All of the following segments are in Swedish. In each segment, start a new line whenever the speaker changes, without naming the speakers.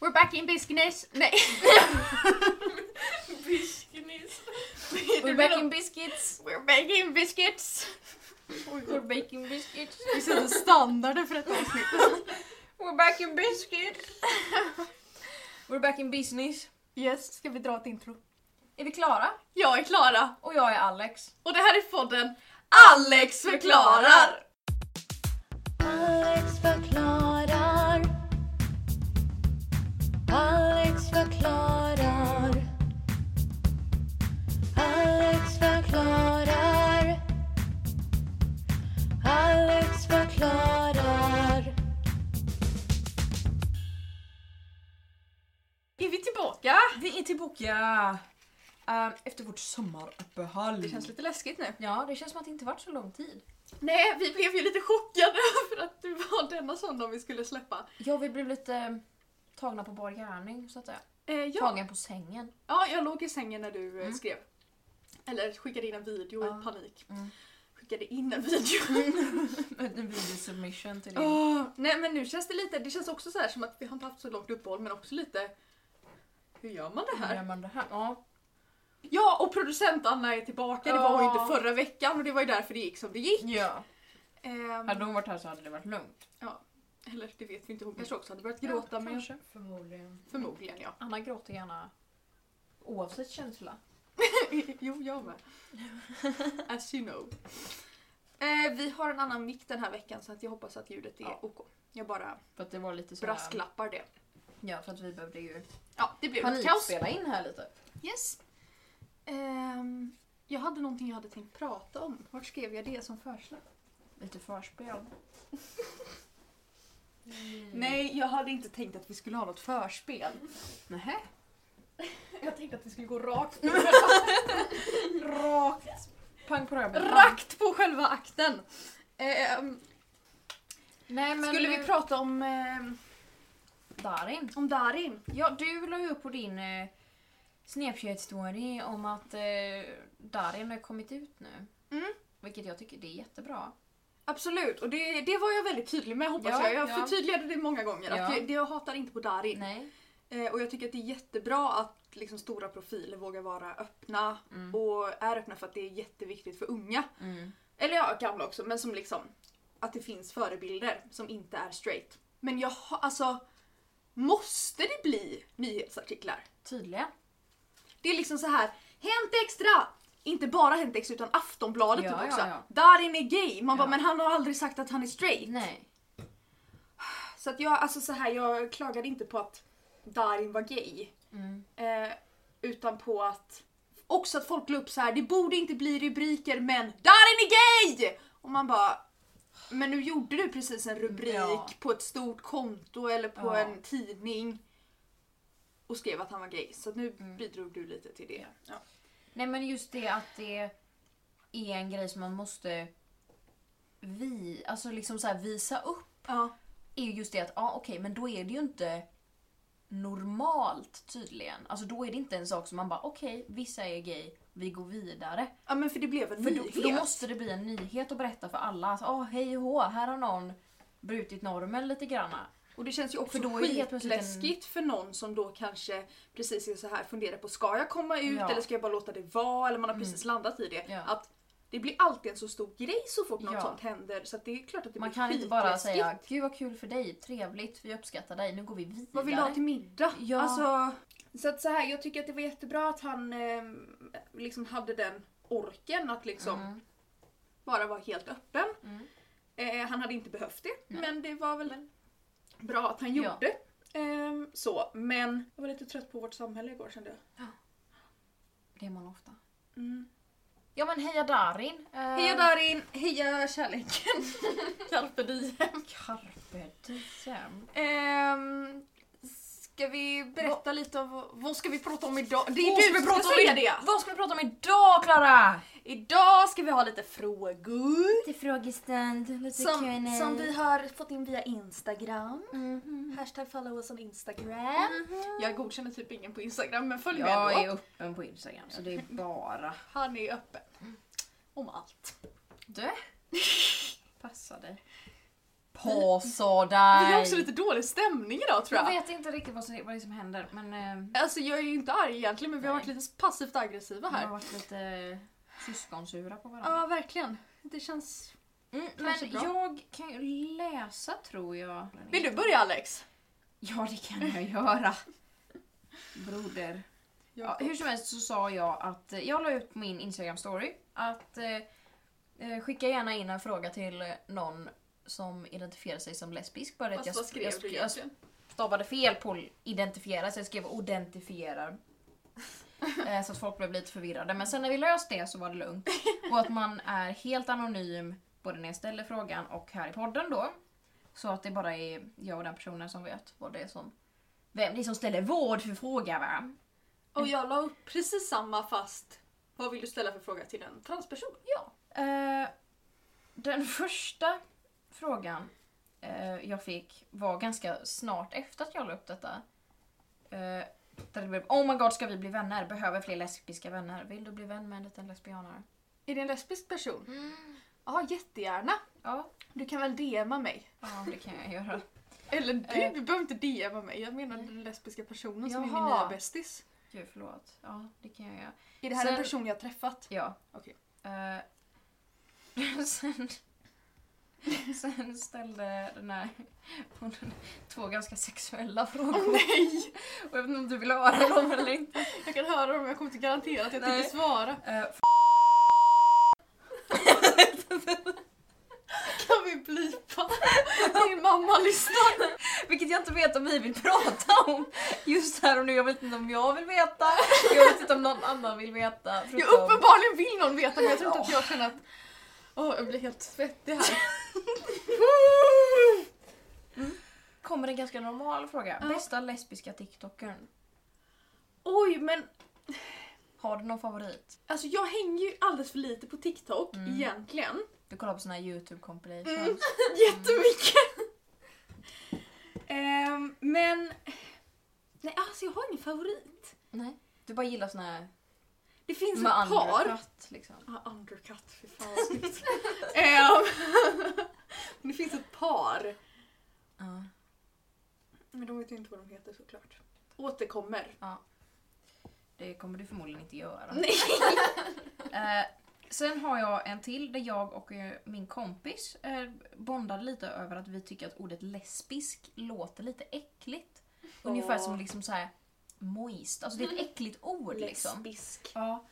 We're back in business! Nej!
Bisknis.
We're baking biscuits.
We're back in biscuits!
We're baking biscuits.
Vi sätter standarden för ett avsnitt.
We're baking biscuits. We're baking business.
Yes, ska vi dra ett intro?
Är vi klara?
Jag är Klara
Och jag är Alex.
och det här är podden Alex förklarar!
Alex förklarar. Alex förklarar. Alex förklarar. Alex förklarar.
Är vi tillbaka?
Vi är tillbaka eh, efter vårt sommaruppehåll.
Det känns lite läskigt nu.
Ja, det känns som att det inte varit så lång tid.
Nej, vi blev ju lite chockade för att du var denna söndag vi skulle släppa.
Ja, vi blev lite eh, tagna på bar gärning så att säga.
Eh, ja.
Tagen på sängen.
ja, jag låg i sängen när du eh,
Mm.
skrev. Eller skickade in en video
Ja.
i panik.
Mm.
Skickade in en video.
En videosubmission till din.
Åh, nej men nu känns det lite, det känns också så här som att vi har inte haft så långt uppehåll men också lite hur gör man det
Hur
här?
gör man det här? Ja.
Ja och producent Anna är tillbaka, det var ju
Ja.
inte förra veckan och det var ju därför det gick som det gick.
ja.
Ehm,
Hade hon varit här så hade det varit lugnt.
eller det vet vi inte, hon kanske också hade börjat gråta men
kanske. Förmodligen.
förmodligen ja.
Anna gråter gärna oavsett känsla.
jo jag med. As you know. Eh, vi har en annan mick den här veckan så att jag hoppas att ljudet är
Ja.
OK. Jag bara
För att det var lite så här-
brasklappar det.
Ja, för att vi behövde ju
Ja det blev ett kaos.
panikspela in här lite.
Yes. Ehm, jag hade någonting jag hade tänkt prata om. Vart skrev jag det som förslag?
Lite förspel.
Mm. Nej, jag hade inte tänkt att vi skulle ha något förspel.
Nähä.
Jag tänkte att vi skulle gå rakt på,
Rakt. Pang på röven.
rakt på själva akten. Ehm,
Nej men...
skulle vi
eh,
prata om, ehm,
Darin.
om Darin?
Ja, du la ju upp på din eh, Snapchat-story om att eh, Darin har kommit ut nu.
Mm.
Vilket jag tycker det är jättebra.
Absolut, och det, det var jag väldigt tydlig med hoppas
Ja,
jag. Jag
ja.
förtydligade det många gånger. Att
Ja.
jag, det, jag hatar inte på Darin.
Nej.
Eh, och jag tycker att det är jättebra att liksom, stora profiler vågar vara öppna.
Mm.
Och är öppna för att det är jätteviktigt för unga.
Mm.
Eller ja, gamla också, men som liksom att det finns förebilder som inte är straight. Men jag har, alltså måste det bli nyhetsartiklar?
Tydliga.
Det är liksom så här Hänt Extra! Inte bara Hänt Extra utan Aftonbladet
Ja,
typ
ja,
också.
ja.
Darin är gay. Man
Ja.
bara, men han har aldrig sagt att han är straight.
Nej.
Så att jag, alltså så här, jag klagade inte på att Darin var gay.
Mm.
Eh, utan på att också att folk la upp så här. det borde inte bli rubriker men Darin är gay! Och man bara men nu gjorde du precis en rubrik
Ja.
på ett stort konto eller på
Ja.
en tidning och skrev att han var gay. Så att nu
Mm.
bidrog du lite till det. Ja.
Nej men just det att det är en grej som man måste vi, alltså liksom så här visa upp
Ja.
är ju just det att ja, okej, men då är det ju inte normalt tydligen. Alltså då är det inte en sak som man bara okej, vissa är gay, vi går vidare.
ja men för det blev en
För då,
nyhet.
för då måste det bli en nyhet att berätta för alla att oh, hej och hå, här har någon brutit normen lite granna.
Och det känns ju också
För då är det helt plötsligt en-
skitläskigt för någon som då kanske precis är så här funderar på ska jag komma ut
Ja. Mm.
eller ska jag bara låta det vara eller man har precis landat i det.
Ja.
Att det blir alltid en så stor grej så fort något
Ja.
sånt händer så att det är klart att det
Man
blir
kan inte bara
skitläskigt.
säga gud vad kul för dig, trevligt, vi uppskattar dig, nu går vi vidare.
Vad vill du ha till middag?
Ja.
Alltså, så att så här, jag tycker att det var jättebra att han eh, liksom hade den orken att liksom
Mm.
bara vara helt öppen.
Mm.
Eh, han hade inte behövt det,
Nej.
men det var väl bra att han
Ja.
gjorde. Ehm, så, men jag var lite trött på vårt samhälle igår kände jag.
Det är man ofta.
Mm.
Ja men heja Darin! Eh,
Heja Darin, heja kärleken. Carpe diem.
Carpe diem.
Ehm, ska vi berätta lite om vad- vad ska vi prata om idag? Det
Vad
är du
ska vi
som
prata
ska
om
säga
i-
det.
Vad ska vi prata om idag Klara?
Idag ska vi ha lite frågor.
Lite frågestund, lite
Som, som vi har fått in via Instagram. Hashtag follow us on Instagram. Mm. Jag godkänner typ ingen på Instagram men följ med
Mm-hmm. Jag
ändå.
är öppen på Instagram så det är bara...
Han är öppen. Om allt.
Du! Passa dig. Passa
Det är också
dig!
lite dålig stämning idag tror
Jag
jag.
vet inte riktigt vad, som, vad det är som händer men eh,
Alltså jag är ju inte arg egentligen men vi har
Nej.
varit lite passivt aggressiva
vi har
här.
varit lite syskonsura på varandra.
Ja, verkligen. Det känns...
Mm,
Kanske
men
bra.
jag kan ju läsa tror jag.
Vill du börja Alex?
Ja, det kan jag göra. Broder. Ja, hur som helst så sa jag att eh, jag la ut på min Instagram story att eh, eh, skicka gärna in en fråga till eh, någon som identifierar sig som lesbisk. Bara att
Fast
jag,
vad
jag,
skrev du
jag, jag
egentligen?
stavade fel på identifiera så jag skrev identifierar. Eh, så att folk blev lite förvirrade. Men sen när vi löste det så var det lugnt. Och att man är helt anonym både när jag ställer frågan och här i podden då. Så att det bara är jag och den personen som vet vad det är som... Vem det är som ställer vård för fråga va?
Och jag la upp precis samma fast vad vill du ställa för fråga till en transperson?
Ja. Eh, den första frågan eh, jag fick var ganska snart efter att jag la upp detta. Eh, där det blev Oh my god, ska vi bli vänner? Behöver fler lesbiska vänner. Vill du bli vän med en liten lesbianare?
Är det en lesbisk person? Ja, jättegärna.
Ja,
Du kan väl DMa mig?
ja det kan jag göra.
Eller du
Eh.
behöver inte DMa mig. Jag menar den lesbiska personen som är min nya
Jaha.
bästis.
Gud, förlåt. Ja, det kan jag göra.
Är det här
Sen-
en person jag har träffat?
Ja.
Okej.
Eh, sen, sen ställde den här hon två ganska sexuella frågor.
Nej!
Och jag vet inte om du vill höra dem eller inte.
Jag kan höra dem, jag kommer inte garantera att jag
Nej.
tänker svara.
Eh,
Kan vi blipa? Min mamma lyssnar.
Vilket jag inte vet om vi vill prata om just här och nu. Jag vet inte om jag vill veta. Jag vet inte om någon annan vill veta.
Jag
förutom-
uppenbarligen vill någon veta men jag tror inte att jag känner att... Åh, jag blir helt svettig här.
Kommer en ganska normal fråga.
Ja.
Bästa lesbiska TikTokern?
Oj, men
Har du någon favorit?
alltså jag hänger ju alldeles för lite på TikTok egentligen.
Du kollar på såna här youtube compilations.
Mm. Jättemycket! Ehm, men... Nej, alltså jag har ingen favorit.
Nej. Du bara gillar såna här
Det finns
med
ett par.
undercut liksom.
Ah, undercut, fy fan vad snyggt. Ehm, men det finns ett par.
Ja.
Men de vet ju inte vad de heter såklart. Återkommer.
Det kommer du förmodligen inte göra.
Nej.
Eh, sen har jag en till där jag och eh, min kompis eh, bondade lite över att vi tycker att ordet lesbisk låter lite äckligt. Ungefär
Ja.
som liksom så här moist. Alltså det är ett äckligt ord liksom.
Lesbisk.
Ja.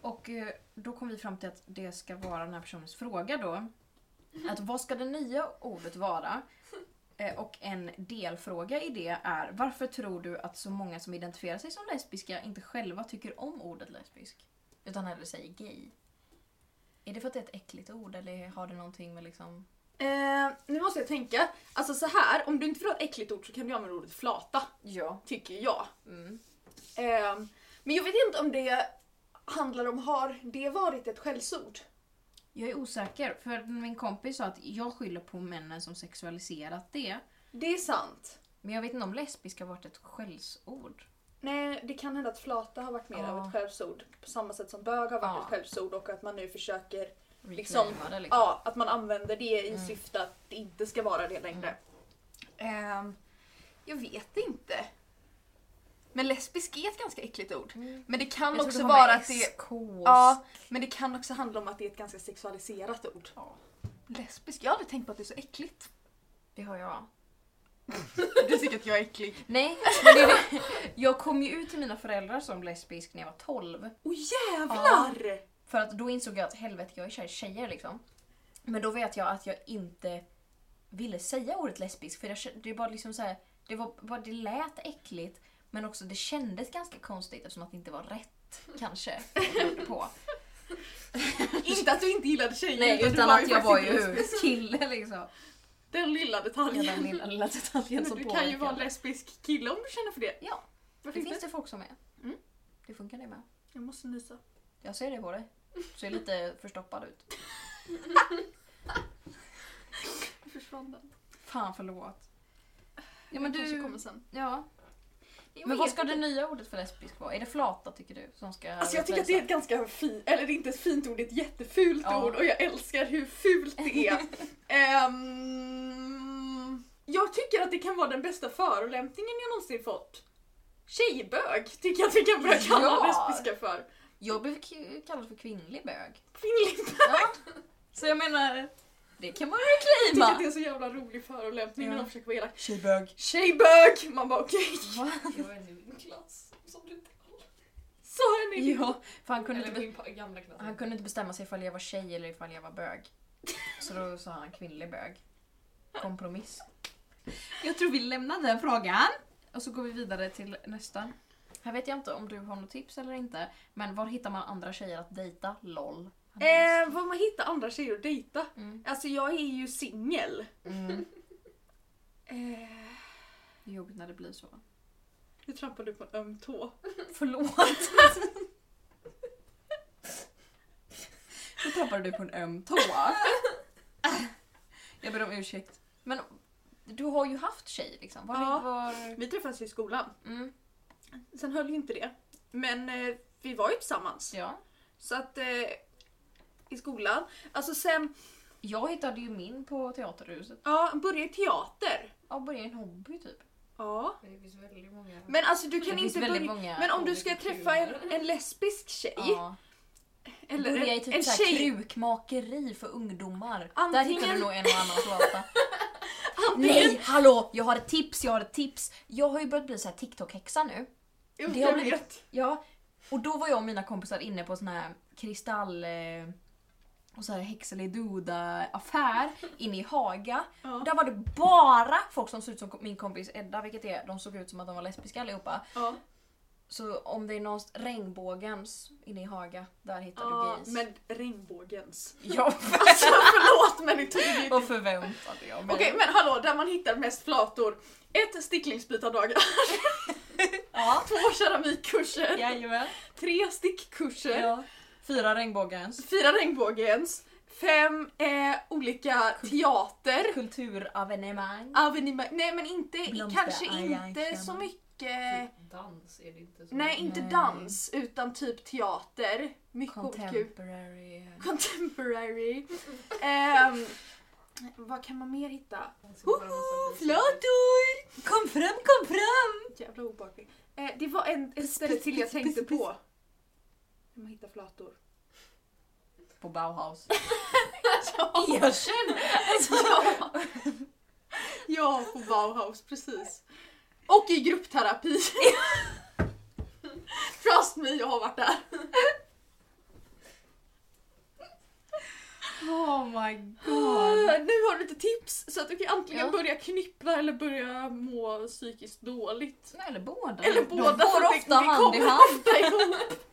Och eh, då kom vi fram till att det ska vara den här personens fråga då. Att vad ska det nya ordet vara? Eh, Och en delfråga i det är varför tror du att så många som identifierar sig som lesbiska inte själva tycker om ordet lesbisk? Utan hellre säger gay? Är det för att det är ett äckligt ord eller har det någonting med liksom...
Eh, nu måste jag tänka. Alltså så här, om du inte vill ha ett äckligt ord så kan du använda ordet flata,
Ja.
tycker jag.
Mm.
Ehm, men jag vet inte om det handlar om, har det varit ett skällsord?
Jag är osäker för min kompis sa att jag skyller på männen som sexualiserat det.
Det är sant.
Men jag vet inte om lesbisk har varit ett skällsord.
Nej, det kan hända att flata har varit mer
Ja.
av ett skällsord. På samma sätt som bög har varit
Ja.
ett skällsord och att man nu försöker, Liksom-
Reclaima det, liksom.
ja, att man använder det i
Mm.
syfte att det inte ska vara det längre. Ehm, jag vet inte. Men lesbisk är ett ganska äckligt ord. Men det kan
Mm. Jag tror
också
det har
vara
med
att det
SK och
Ja, men det kan också handla om att det är ett ganska sexualiserat ord.
Ja.
Lesbisk? Jag har aldrig tänkt på att det är så äckligt.
Det har jag.
Du tycker att jag är äcklig?
Nej, men det är det. Jag kom ju ut till mina föräldrar som lesbisk när jag var 12.
Åh jävlar!
För att då insåg jag att helvete, jag är kär i tjejer liksom. Men då vet jag att jag inte ville säga ordet lesbisk för jag, kä- det var liksom så här, det, var, bara- det lät äckligt men också det kändes ganska konstigt eftersom att det inte var rätt kanske. vad det berodde på.
Inte att du inte gillade tjejer
Nej,
du
utan
ju
att jag var
faktiskt
ju kille liksom.
Den lilla detaljen.
Den lilla, lilla detaljen
Men
som
du kan ju vara en
påverkade.
lesbisk kille om du känner för det.
Ja,
Varför
det
inte?
finns det folk som är.
Mm.
Det funkar det med.
Jag måste nysa.
Jag ser det på dig. Du ser lite förstoppad ut.
Nu försvann den.
Fan förlåt. Ja
Men
men
kanske kommer
du...
sen.
Ja. Men vad ska det nya ordet för lesbisk vara? Är det flata tycker du? Som ska
Alltså jag tycker att det är
replacea?
ett ganska fint, eller det är inte ett fint ord, det är ett jättefult
Ja.
ord och jag älskar hur fult det är. Ehm, Jag tycker att det kan vara den bästa förolämpningen jag någonsin fått. Tjejbög tycker jag att vi kan börja kalla
Ja.
lesbiska för.
Jag blev k- kallad för kvinnlig bög.
Kvinnlig bög.
Ja. Så jag menar, det kan man
Jag tycker att
reclaima.
det är så jävla rolig förolämpning när
Ja.
de försöker vara elaka.
Tjejbög.
Tjejbög! Man bara okej.
Va?
Jag är nu i en klass som du inte har.
Sa jag det?
Ja, för han kunde,
Eller
inte,
min pa- gamla klass.
han kunde inte bestämma sig ifall jag var tjej eller ifall jag var bög. Så då sa han kvinnlig bög. Kompromiss. Jag tror vi lämnar den frågan. Och så går vi vidare till nästa. Här vet jag inte om du har något tips eller inte, men var hittar man andra tjejer att dejta? LOL.
Eh,
Ehm.
vad man hittar andra tjejer att dejta.
Mm.
Alltså jag är ju singel.
Mm.
Eh,
Det är jobbigt när det blir så.
nu trampar du på en öm tå.
Förlåt. Nu tappade du på en öm tå. Jag ber om ursäkt. Men du har ju haft tjej liksom. Var,
Ja.
var...
Vi träffades i skolan.
Mm.
Sen höll ju inte det. Men eh, vi var ju tillsammans.
Ja.
Så att eh, i skolan. Alltså sen,
Jag hittade ju min på teaterhuset.
ja, började i teater.
Ja, började en hobby typ.
Ja.
Det finns väldigt många.
Men alltså du kan
det finns
inte
väldigt
börja...
många...
Men om du ska
olika
träffa en,
kulor.
en lesbisk tjej.
ja.
Eller
Börja i
en,
typ
en
så här
tjej.
krukmakeri för ungdomar.
Antingen-
Där hittar du nog en och annan såpa. Nej, hallå! Jag har ett tips, jag har ett tips. Jag har ju börjat bli så här TikTok-häxa nu.
Jo,
det
jag
har blivit-
vet.
Ja, och då var jag och mina kompisar inne på sån här kristall eh, och så här häxeliduda affär inne i Haga.
Ja.
Och där var det bara folk som såg ut som min kompis Edda, vilket är, de såg ut som att de var lesbiska allihopa.
Ja.
Så om det är någon regnbågens inne i Haga, där hittar
Ja,
du gays.
men regnbågens.
Ja,
Alltså förlåt men det tog ju
och förväntade jag mig.
Okej men hallå, där man hittar mest flator. Ett sticklingsbytardagar,
Ja.
två keramikkurser,
Jajamän.
tre stickkurser,
Ja. Fyra regnbågens.
fyra regnbågens, fem eh, olika teater,
Kulturavenemang.
avenemang, nej men inte,
Blomster,
kanske
aj, Typ, aj,
inte så
känner.
mycket,
Dans är det inte så.
nej inte
Nej.
dans utan typ teater, mycket olika
Contemporary.
Contemporary. Ehm, vad kan man mer hitta?
Man ser bara en massa biceps.
Flator!
Kom fram, kom fram!
Jävla obehaglig. Eh, det var en, ett ställe till jag tänkte på. När man hittar flator.
På Bauhaus.
Ja,
Erkänn!
Alltså, ja. ja, på Bauhaus, precis. Och i gruppterapi. Trust me, jag har varit där.
Oh my
Ah, nu har du lite tips så att du kan antingen
Ja.
börja knyppla eller börja må psykiskt dåligt.
Eller båda.
Eller båda,
De
för
går
det-
ofta
det
hand i
kommer
hand.
ofta ihop.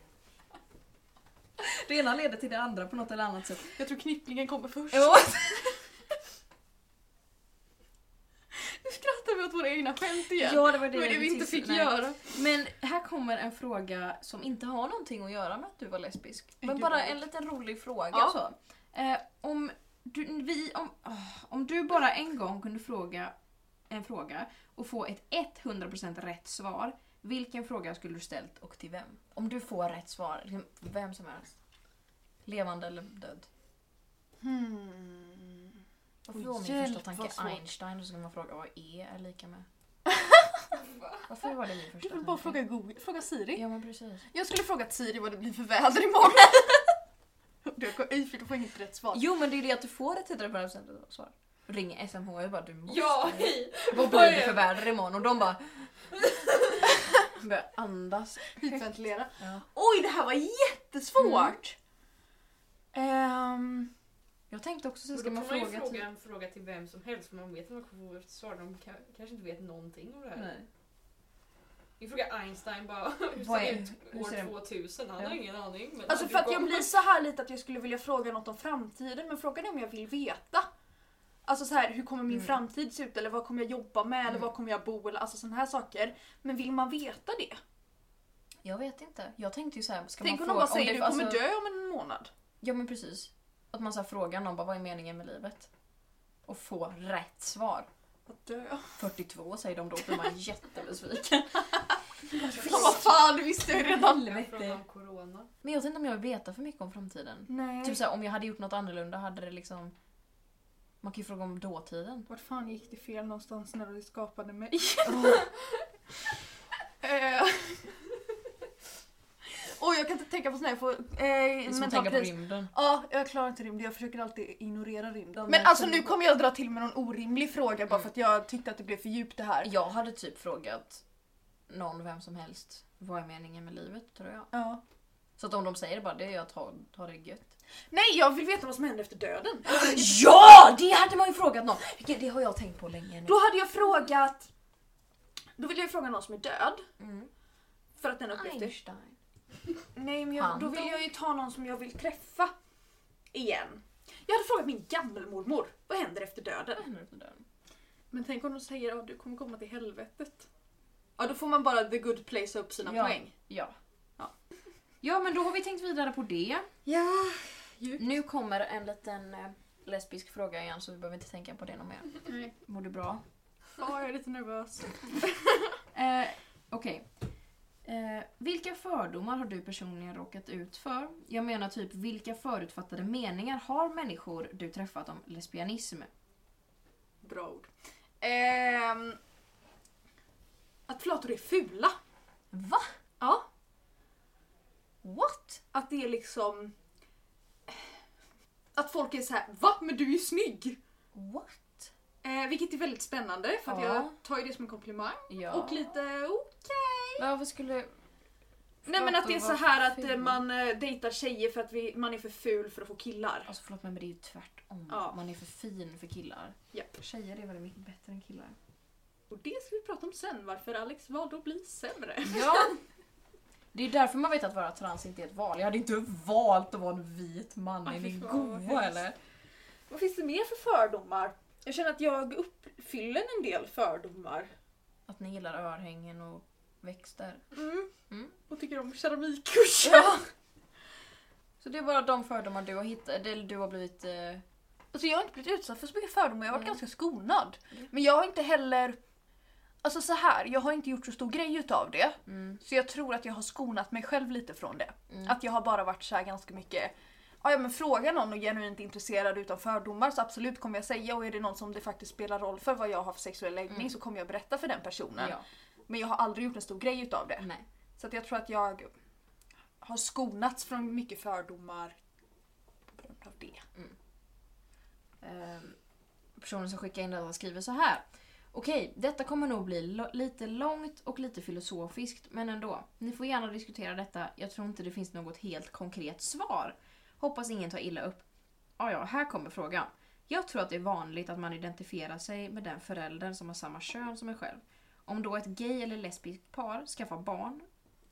Det ena leder till det andra på något eller annat sätt.
Jag tror knypplingen kommer först. Nu skrattar vi åt våra egna skämt igen.
ja, det var
det var det
jag
vi inte
tyckte-
fick
nej.
göra.
Men här kommer en fråga som inte har någonting att göra med att du var lesbisk. Men
Gud,
bara
vad
en liten rolig fråga.
Ja.
Så. Eh, om, du, vi, om, åh, om du bara en gång kunde fråga en fråga och få ett 100% rätt svar, vilken fråga skulle du ställt och till vem? Om du får rätt svar, liksom, vem som helst. Levande eller död.
Hmm.
Varför var min
Hjälp,
första
vad
tanke
svårt.
Einstein och så kan man fråga vad E är lika med? Varför var det min första
Du vill bara
tanke?
fråga, Google, fråga Siri.
Ja men precis.
Jag skulle fråga Siri vad det blir för väder imorgon. du har ej, för du får inget rätt svar.
Jo men det är det att du får ett 100% svar. Ring SMH och bara du måste.
Ja, hej!
Vad blir det för väder imorgon? Och de bara... Börjar andas.
Hyperventilera.
Ja.
Oj, det här var jättesvårt!
Mm.
Ehm,
Jag tänkte också så
Och Då
ska
kan
man
man ju
fråga typ-
fråga
till...
en fråga till vem som helst för man vet att man kommer få ett svar. De ka- kanske inte vet någonting om det här.
typ-" Nej.
Vi frågar Einstein bara hur
Vad
ser det
är-
ut
hur ser det-
år 2000? Han
Ja.
har ingen aning. Men
Alltså
du
för att jag
kommer-
blir så här lite att jag skulle vilja fråga något om framtiden men frågan är om jag vill veta. Alltså så här, hur kommer min
Mm.
framtid se ut eller vad kommer jag jobba med eller
Mm.
var kommer jag bo eller alltså sådana här saker. Men vill man veta det?
Jag vet inte. Jag tänkte ju såhär, ska
Tänk
man
om
fråga...
någon bara säger
det-
du kommer
alltså-
dö om en månad.
Ja men precis. Att man så här frågar någon bara, vad är meningen med livet? Och få rätt svar.
Att dö.
42 säger de då, blir man jättebesviken.
Ja, vad fan, det visste jag ju redan.
Jag frågar om corona.
Men jag vet inte om jag vill veta för mycket om framtiden.
Nej.
Typ såhär, om jag hade gjort något annorlunda hade det liksom... Man kan ju fråga om dåtiden.
Vart fan gick det fel någonstans när du skapade mig? Eh,
Oj, jag kan inte tänka på sådana här. Jag får, eh,
Som
mental
tänker på
kris.
rymden.
Ja, jag klarar inte rymden. Jag försöker alltid ignorera rymden. Mm.
De
Men
är
alltså
så-
nu kommer jag dra till med någon orimlig fråga bara för att jag tyckte att det blev för djupt det här.
Jag hade typ frågat någon, vem som helst, vad är meningen med livet tror jag.
Ja.
Så att om de säger det bara, det är jag tar, tar det gött.
Nej, jag vill veta vad som händer efter döden.
Ja! Det hade man ju frågat någon! Vilket- Det har jag tänkt på länge nu.
Då hade jag frågat... Då ville jag fråga någon som är död.
Mm.
För att den uppgift är...
Einstein.
Nej, men
Han
jag, då vill jag ju ta någon som jag vill träffa. Igen. Jag hade frågat min gammelmormor. Vad händer efter döden?
Vad händer efter döden?
Men tänk om de säger att du kommer komma till helvetet. Ja, då får man bara the good place upp sina
Ja.
poäng.
Ja.
Ja.
Ja men då har vi tänkt vidare på det.
Ja.
Nu kommer en liten eh, lesbisk fråga igen så vi behöver inte tänka på det någon mer.
Nej.
Mår du bra?
Ja, jag är lite nervös.
Eh, Okej. Eh, vilka fördomar har du personligen råkat ut för? Jag menar typ vilka förutfattade meningar har människor du träffat om lesbianism?
Bra ord. Ehm, att flator är fula.
Va?
Ja.
What?
Att det är liksom... Att folk är så här, va? Men du är ju snygg!
What?
Eh, vilket är väldigt spännande för att
Ja.
jag tar ju det som en komplimang.
Ja.
Och lite okej.
Varför skulle...
Nej men att det är så här att eh,
ful.
man eh, dejtar tjejer för att vi, man är för ful för att få killar.
Alltså förlåt mig, men det är ju tvärtom.
Ja.
Man är för fin för killar.
Japp.
Tjejer är väldigt mycket bättre än killar.
Och det ska vi prata om sen, varför Alex valde att bli sämre.
Ja. Det är därför man vet att vara trans inte är ett val. Jag hade inte valt att vara en vit man.
Aj,
Är
fy
ni
fan, vad
goa
hemskt.
eller?
Vad finns det mer för fördomar? Jag känner att jag uppfyller en del fördomar.
Att ni gillar örhängen och växter.
Mm.
Mm.
Och tycker om keramikkurser.
Så det är bara de fördomar du har hittat, eller du har blivit... Eh,
Alltså jag har inte blivit utsatt för så mycket fördomar, jag har varit
Nej. Mm.
ganska skonad. Men jag har inte heller... Alltså så här, jag har inte gjort så stor grej utav det.
mm,
Så jag tror att jag har skonat mig själv lite från det.
mm.
Att jag har bara varit så här ganska mycket "Ah, "Ja, ja, men fråga någon och genuint intresserad utan fördomar så absolut kommer jag säga och är det någon som det faktiskt spelar roll för vad jag har för sexuell läggning
Mm.
så kommer jag berätta för den personen.
ja.
Men jag har aldrig gjort en stor grej utav det.
Nej.
Så att jag tror att jag har skonats från mycket fördomar på grund av det.
Ehm, personen som skickade in detta skriver så här. Okej, detta kommer nog bli lo- lite långt och lite filosofiskt, men ändå. Ni får gärna diskutera detta. Jag tror inte det finns något helt konkret svar. Hoppas ingen tar illa upp. Ah, ja, här kommer frågan. Jag tror att det är vanligt att man identifierar sig med den föräldern som har samma kön som en själv. Om då ett gay eller lesbiskt par skaffar barn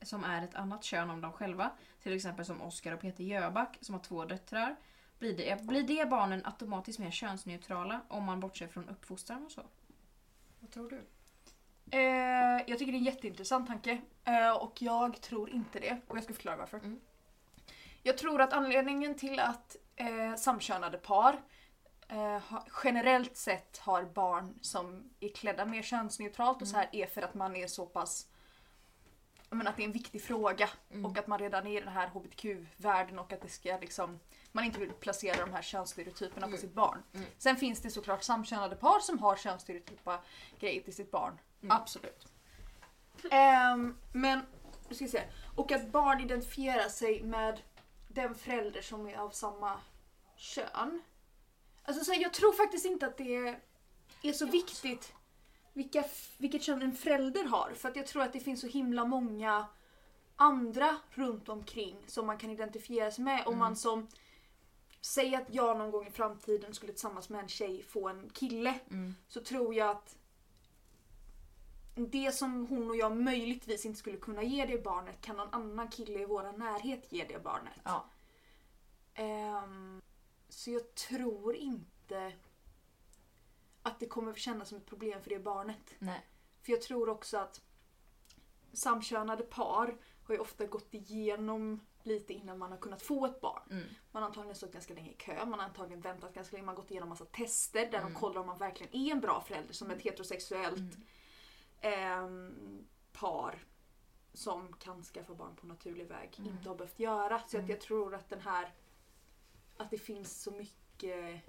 som är ett annat kön om dem själva, till exempel som Oscar och Peter Jöback som har två döttrar, blir det, blir det barnen automatiskt mer könsneutrala om man bortser från uppfostran och så? Vad tror du?
Eh, jag tycker det är en jätteintressant tanke eh, och jag tror inte det och jag ska förklara varför.
Mm.
Jag tror att anledningen till att eh, samkönade par eh, ha, generellt sett har barn som är klädda mer könsneutralt och så
Mm.
här är för att man är så pass men att det är en viktig fråga
Mm.
och att man redan är i den här hbtq-världen och att det ska liksom, man inte vill placera de här könsstereotyperna
Mm.
på sitt barn.
Mm.
Sen finns det såklart samkönade par som har könsstereotypa grejer till sitt barn.
Mm.
Absolut. Ehm, men, nu ska vi se. Och att barn identifierar sig med den förälder som är av samma kön. Alltså så här, jag tror faktiskt inte att det är, är så viktigt vilka, f- vilket kön en förälder har. För att jag tror att det finns så himla många andra runt omkring som man kan identifiera sig med. Om
Mm.
man som, säg att jag någon gång i framtiden skulle tillsammans med en tjej få en kille
Mm.
så tror jag att det som hon och jag möjligtvis inte skulle kunna ge det barnet kan någon annan kille i vår närhet ge det barnet.
Ja.
Ehm, så jag tror inte att det kommer kännas som ett problem för det barnet.
Nej.
För jag tror också att samkönade par har ju ofta gått igenom lite innan man har kunnat få ett barn.
Mm.
Man har antagligen stått ganska länge i kö, man har antagligen väntat ganska länge, man har gått igenom massa tester där
Mm.
de kollar om man verkligen är en bra förälder som ett heterosexuellt ehm, par som kan skaffa barn på naturlig väg
Mm.
inte har behövt göra. Så
Mm.
att jag tror att den här att det finns så mycket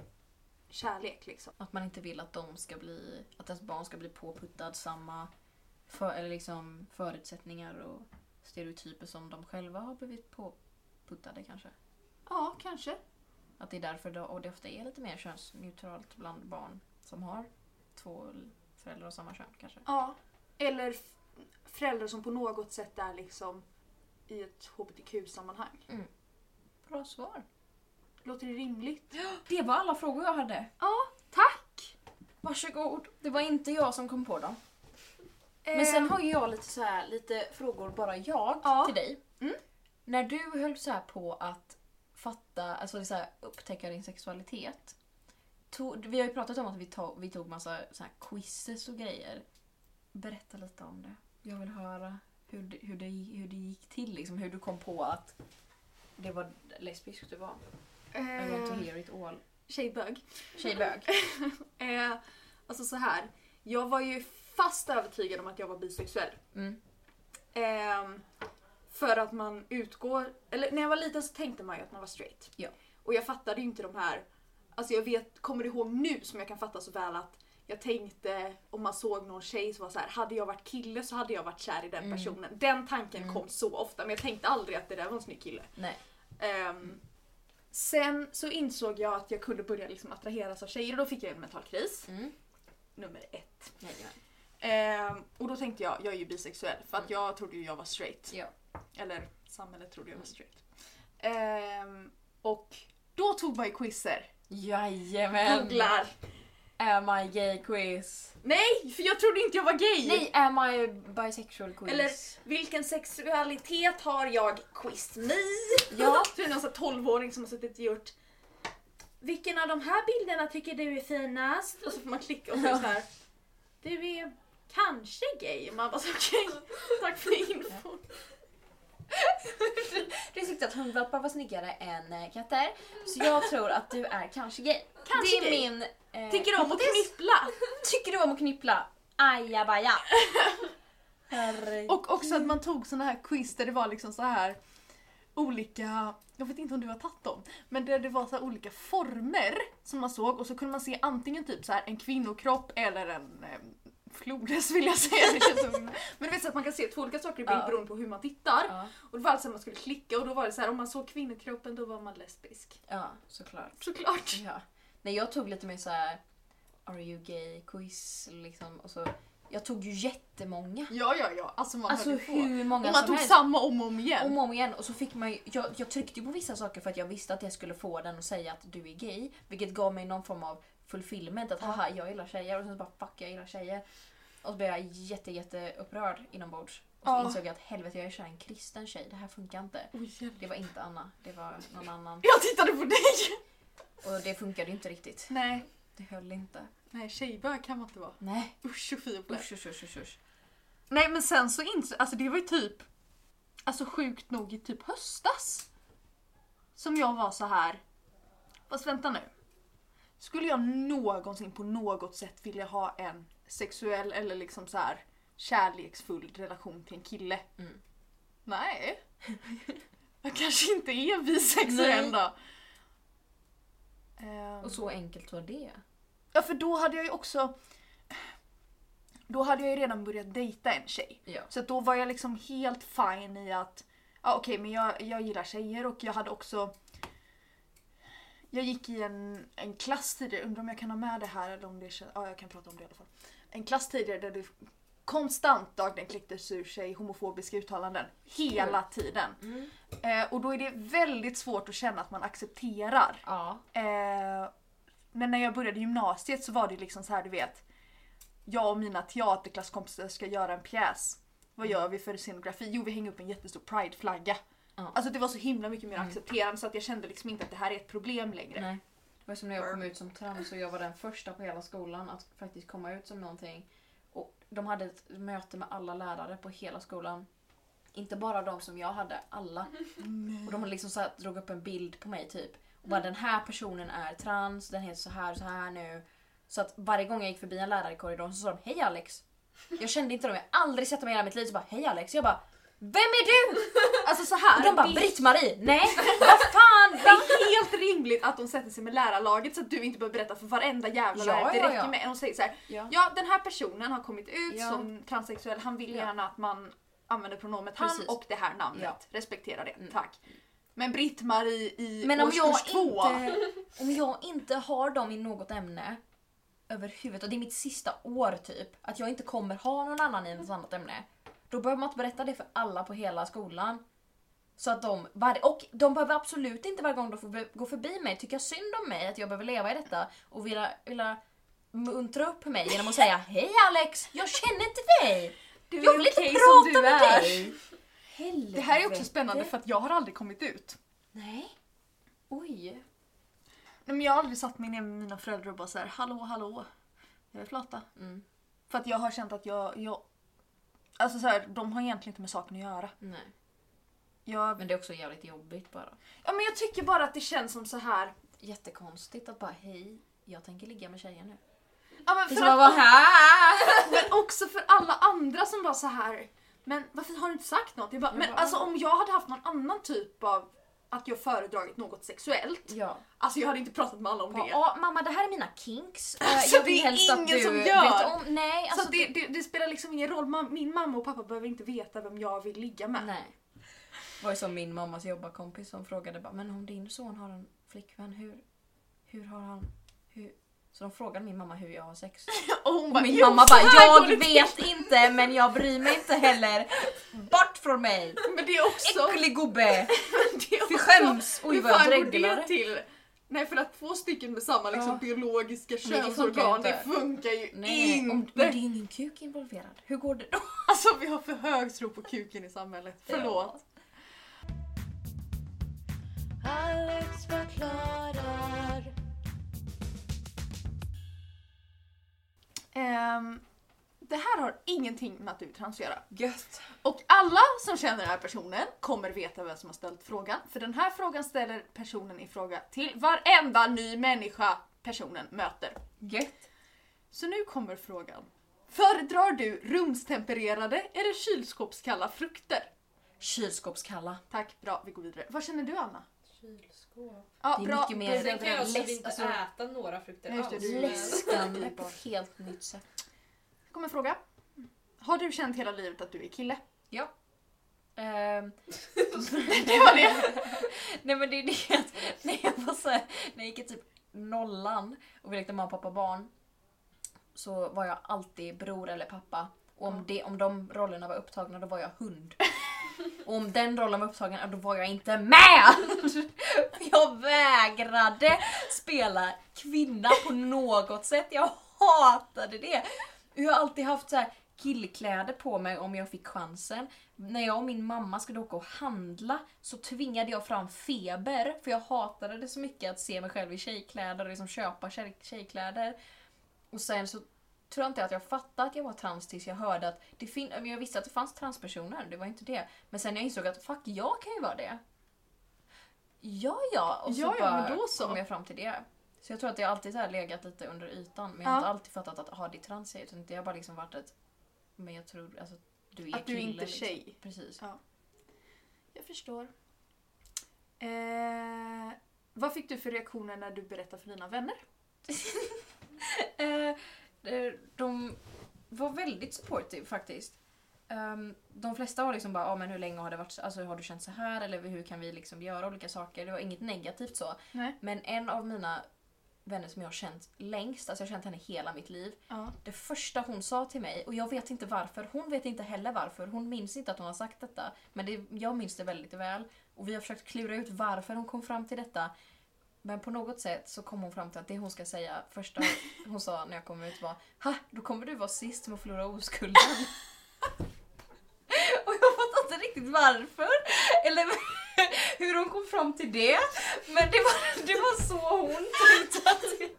kärlek liksom.
Att man inte vill att de ska bli, att ens barn ska bli påputtad samma för, eller liksom förutsättningar och stereotyper som de själva har blivit påputtade kanske.
Ja, kanske.
Att det är därför det, och det ofta är lite mer könsneutralt bland barn som har två föräldrar av samma kön kanske.
Ja. Eller f- föräldrar som på något sätt är liksom i ett hbtq-sammanhang.
Bra svar.
Låter det rimligt?
Det var alla frågor jag hade.
Ja, tack!
Varsågod. Det var inte jag som kom på dem. Men sen har ju jag lite, så här, lite frågor bara jag
Ehm. Ja.
till dig.
Mm.
När du höll så här på att fatta, alltså det är så här, upptäcka din sexualitet. Tog, vi har ju pratat om att vi tog, vi tog massa så här quizzes och grejer. Berätta lite om det. Jag vill höra hur det, hur det, hur det gick till, liksom, hur du kom på att det var lesbisk du var. I want to
Eh,
hear it all.
tjejbög.
Tjejbög.
Eh, alltså så här. Jag var ju fast övertygad om att jag var bisexuell.
Mm.
Ehm, för att man utgår... Eller när jag var liten så tänkte man ju att man var straight.
Ja.
Och jag fattade ju inte de här... Alltså jag vet, kommer ihåg nu som jag kan fatta så väl att jag tänkte om man såg någon tjej som var så här, hade jag varit kille så hade jag varit kär i den
Mm.
personen. Den tanken
Mm.
kom så ofta men jag tänkte aldrig att det där var en snygg kille.
Nej.
Ehm, sen så insåg jag att jag kunde börja liksom attraheras av tjejer och då fick jag en mental kris.
Mm.
Nummer ett.
Jajamän.
Ehm, och då tänkte jag, jag är ju bisexuell för att jag trodde ju jag var straight.
Mm. Ja.
Eller samhället trodde jag var straight. Ehm, och då tog man ju quizzer.
Jajamän.
Googlar.
Am I gay quiz?
Nej, för jag trodde inte jag var gay!
Nej, am I bisexual quiz?
Eller vilken sexualitet har jag? Quiz me!
Ja.
Så är det någon sån här 12-åring som har suttit och gjort Vilken av de här bilderna tycker du är finast? Och så får man klicka och så är det så här. Du är kanske gay. Man bara så, okej, tack för infon.
Du tyckte att hundvalpar var snyggare än eh, katter, så jag tror att du är kanske gay.
Kanske
det är
gay.
min... Eh,
Tycker du om att
hypotes.
knippla?
Tycker du om att knippla? Ajabaja. Herregud.
Och också att man tog såna här quiz där det var liksom så här olika, jag vet inte om du har tagit dem, men där det var så här olika former som man såg och så kunde man se antingen typ så här en kvinnokropp eller en eh, flodhäst vill jag säga. Det känns som, men du vet så att man kan se två olika saker i bild
Ja.
beroende på hur man tittar.
Ja,
Och det var alltså att man skulle klicka och då var det så här om man såg kvinnokroppen då var man lesbisk.
ja, såklart.
Såklart.
Ja. Nej, jag tog lite mer så här. Are you gay quiz liksom. Och så, jag tog ju jättemånga.
Ja, ja, ja. Alltså man
Alltså
höll ju på.
hur
Och
många
man
som
tog
helst.
samma om och om igen.
Om och om igen. Och så fick man ju, jag, jag tryckte ju på vissa saker för att jag visste att jag skulle få den att säga att du är gay. Vilket gav mig någon form av fulfillment. Att haha, jag gillar tjejer. Och sen så bara fuck, jag gillar tjejer. Och så blev jag jätte, jätte upprörd inombords. Och så
Ja.
insåg jag att helvete, jag är kär i en kristen tjej. Det här funkar inte.
Oj, jävlar.
Det var inte Anna, det var någon annan.
jag tittade på dig!
Och det funkade ju inte riktigt.
Nej,
Det höll inte.
nej tjejbög kan man inte vara.
Nej.
Usch och fy och blä.
Usch, usch, usch, usch, usch.
Nej men sen så insåg, alltså det var ju typ, alltså sjukt nog i typ höstas. Som jag var så här. fast vänta nu. Skulle jag någonsin på något sätt vilja ha en sexuell eller liksom så här kärleksfull relation till en kille?
Mm.
Nej. Jag kanske inte är bisexuell
Nej.
då. Ehm.
Och så enkelt var det.
Ja för då hade jag ju också... Då hade jag ju redan börjat dejta en tjej.
Ja.
Så att då var jag liksom helt fine i att ja, okej men jag, jag gillar tjejer och jag hade också... Jag gick i en, en klass tidigare, undrar om jag kan ha med det här eller om det känns... Ja jag kan prata om det i alla fall. En klass tidigare där det konstant dagligen klicktes ur sig homofobiska uttalanden. Hela tiden.
Mm.
Eh, och då är det väldigt svårt att känna att man accepterar
Ja.
Eh, men när jag började gymnasiet så var det liksom så här du vet. Jag och mina teaterklasskompisar ska göra en pjäs. Vad gör vi för scenografi? Jo vi hänger upp en jättestor prideflagga.
Ja.
Alltså det var så himla mycket mer accepterande så att jag kände liksom inte att det här är ett problem längre.
Nej. Det var som när jag kom ut som trans och jag var den första på hela skolan att faktiskt komma ut som någonting. Och de hade ett möte med alla lärare på hela skolan. Inte bara de som jag hade, alla. Och de hade liksom så här, drog upp en bild på mig typ. Och bara den här personen är trans, den heter så här så här nu. Så att varje gång jag gick förbi en lärare i korridoren så sa de Hej Alex! Jag kände inte dem, jag har aldrig sett dem i hela mitt liv. Så bara Hej Alex! Jag bara Vem är du?
Alltså så
Och
här.
de bara
det-
Britt-Marie, nej vad fan!
Det är helt rimligt att de sätter sig med lärarlaget så att du inte behöver berätta för varenda jävla
Ja,
lärare. Det
ja,
räcker
ja.
med att de säger så här.
Ja.
Ja, den här personen har kommit ut
Ja.
som transsexuell. Han vill
Ja.
gärna att man använder pronomet han
Precis.
och det här namnet.
Ja.
Respektera det,
Mm.
tack. Men Britt-Marie i
Men om
årskurs
jag,
två.
inte, om jag inte har dem i något ämne överhuvudtaget, och det är mitt sista år typ, att jag inte kommer ha någon annan i något annat ämne. Då behöver man inte berätta det för alla på hela skolan. Så att de, var, och de behöver absolut inte varje gång de får be- gå förbi mig tycka synd om mig, att jag behöver leva i detta och vilja, vilja muntra upp mig genom att säga Hej Alex, jag känner inte dig!
Du
Jag
är
vill inte
okej som
prata
du
med
är."
dig! Helvete.
Det här är också spännande för att jag har aldrig kommit ut.
Nej. Oj.
Nej, men jag har aldrig satt mig ner med mina föräldrar och bara så här, hallå hallå. Jag är flata.
Mm.
För att jag har känt att jag... jag alltså så här, de har egentligen inte med saken att göra.
Nej.
Jag,
Men det är också jävligt jobbigt bara.
ja, men jag tycker bara att det känns som så här.
Jättekonstigt att bara hej, jag tänker ligga med tjejer nu.
Ja, men
Det
för
ska bara
att,
vara här.
men också för alla andra som bara så här. Men varför har du inte sagt något? Jag bara, men alltså om jag hade haft någon annan typ av att jag föredragit något sexuellt.
Ja.
Alltså jag hade inte pratat med alla om det.
Ja, mamma det här är mina kinks. Eh,
Alltså,
jag vill
det är
helst att
ingen
du
som gör.
vet om. Nej,
Så
alltså.
att det, det, det spelar liksom ingen roll. Mam- Min mamma och pappa behöver inte veta vem jag vill ligga med.
Nej. Det var ju som min mammas jobbarkompis som frågade bara, men om din son har en flickvän, hur, hur har han, hur? Så de frågade min mamma hur jag har sex.
Och hon
Och
bara,
min
"Jo,
mamma
så
bara,
här går det
jag
till."
vet inte men jag bryr mig inte heller. Bort från mig!
Men det är också...
Äcklig gubbe!
Det är
Fy
också
skäms! Oj
Hur
vad jag
fan går det
dreglade.
till? Nej för att två stycken med samma liksom,
Ja.
biologiska
det funkar
könsorgan,
inte.
det funkar ju
Nej,
inte!
om, men det är ju ingen kuk involverad. Hur går det då?
Alltså vi har för hög tro på kuken i samhället, förlåt.
Alex förklarar.
Ehm, det här har ingenting med att du är trans att göra.
Gött.
Och alla som känner den här personen kommer veta vem som har ställt frågan. För den här frågan ställer personen i fråga till varenda ny människa personen möter.
Gött.
Så nu kommer frågan. Föredrar du rumstempererade eller kylskåpskalla frukter?
Kylskåpskalla.
Tack, bra, vi går vidare. Vad känner du Anna?
Kylskåp.
Ja,
Det är
bra.
mycket mer-
Sen kan jag
Läsk-
absolut inte
alltså-
äta några frukter
Nej, just det,
alls.
du-
men-
Läskande på ett helt nytt sätt.
Det kommer en fråga. Har du känt hela livet att du är kille?
Ja. Ehm,
Det var det.
nej men det är det att när jag var så här, när jag gick i typ nollan och vi lekte mamma, pappa, barn. Så var jag alltid bror eller pappa. Och om, det, om de rollerna var upptagna då var jag hund. Och om den rollen var upptagen ja, då var jag inte med! Jag vägrade spela kvinna på något sätt. Jag hatade det. Jag har alltid haft så här killkläder på mig om jag fick chansen. När jag och min mamma skulle åka och handla så tvingade jag fram feber för jag hatade det så mycket att se mig själv i tjejkläder och liksom köpa tjej- tjejkläder. Och sen så tror jag inte att jag fattade att jag var trans tills jag hörde att det fin- men jag visste att det fanns transpersoner, det var inte det. Men sen jag insåg att fuck, jag kan ju vara det. Ja, ja. Och så
Ja, ja,
bara
men då så.
kom jag fram till det. Så jag tror att jag alltid så här legat lite under ytan. Men
Ja.
jag har inte alltid fattat att ha det är trans jag är, utan det har bara liksom varit ett... Men jag tror alltså, du är
Att du
kille,
inte är tjej.
Liksom. Precis.
Jag förstår. Eh, vad fick du för reaktioner när du berättade för dina vänner?
Eh, eh, de var väldigt supportive faktiskt. Ehm, de flesta var liksom bara, ah, men hur länge har det varit så- alltså, har du känt så här eller hur kan vi liksom göra olika saker? Det var inget negativt så.
Nej.
Men en av mina vänner som jag har känt längst, alltså jag har känt henne hela mitt liv.
Ja.
Det första hon sa till mig, och jag vet inte varför, hon vet inte heller varför, hon minns inte att hon har sagt detta. Men det, jag minns det väldigt väl. Och vi har försökt klura ut varför hon kom fram till detta. Men på något sätt så kom hon fram till att det hon ska säga, första hon sa när jag kom ut var Ha, då kommer du vara sist med att förlora oskulden. och jag fattar inte riktigt varför. Eller hur hon kom fram till det. Men det var, det var så hon tänkte att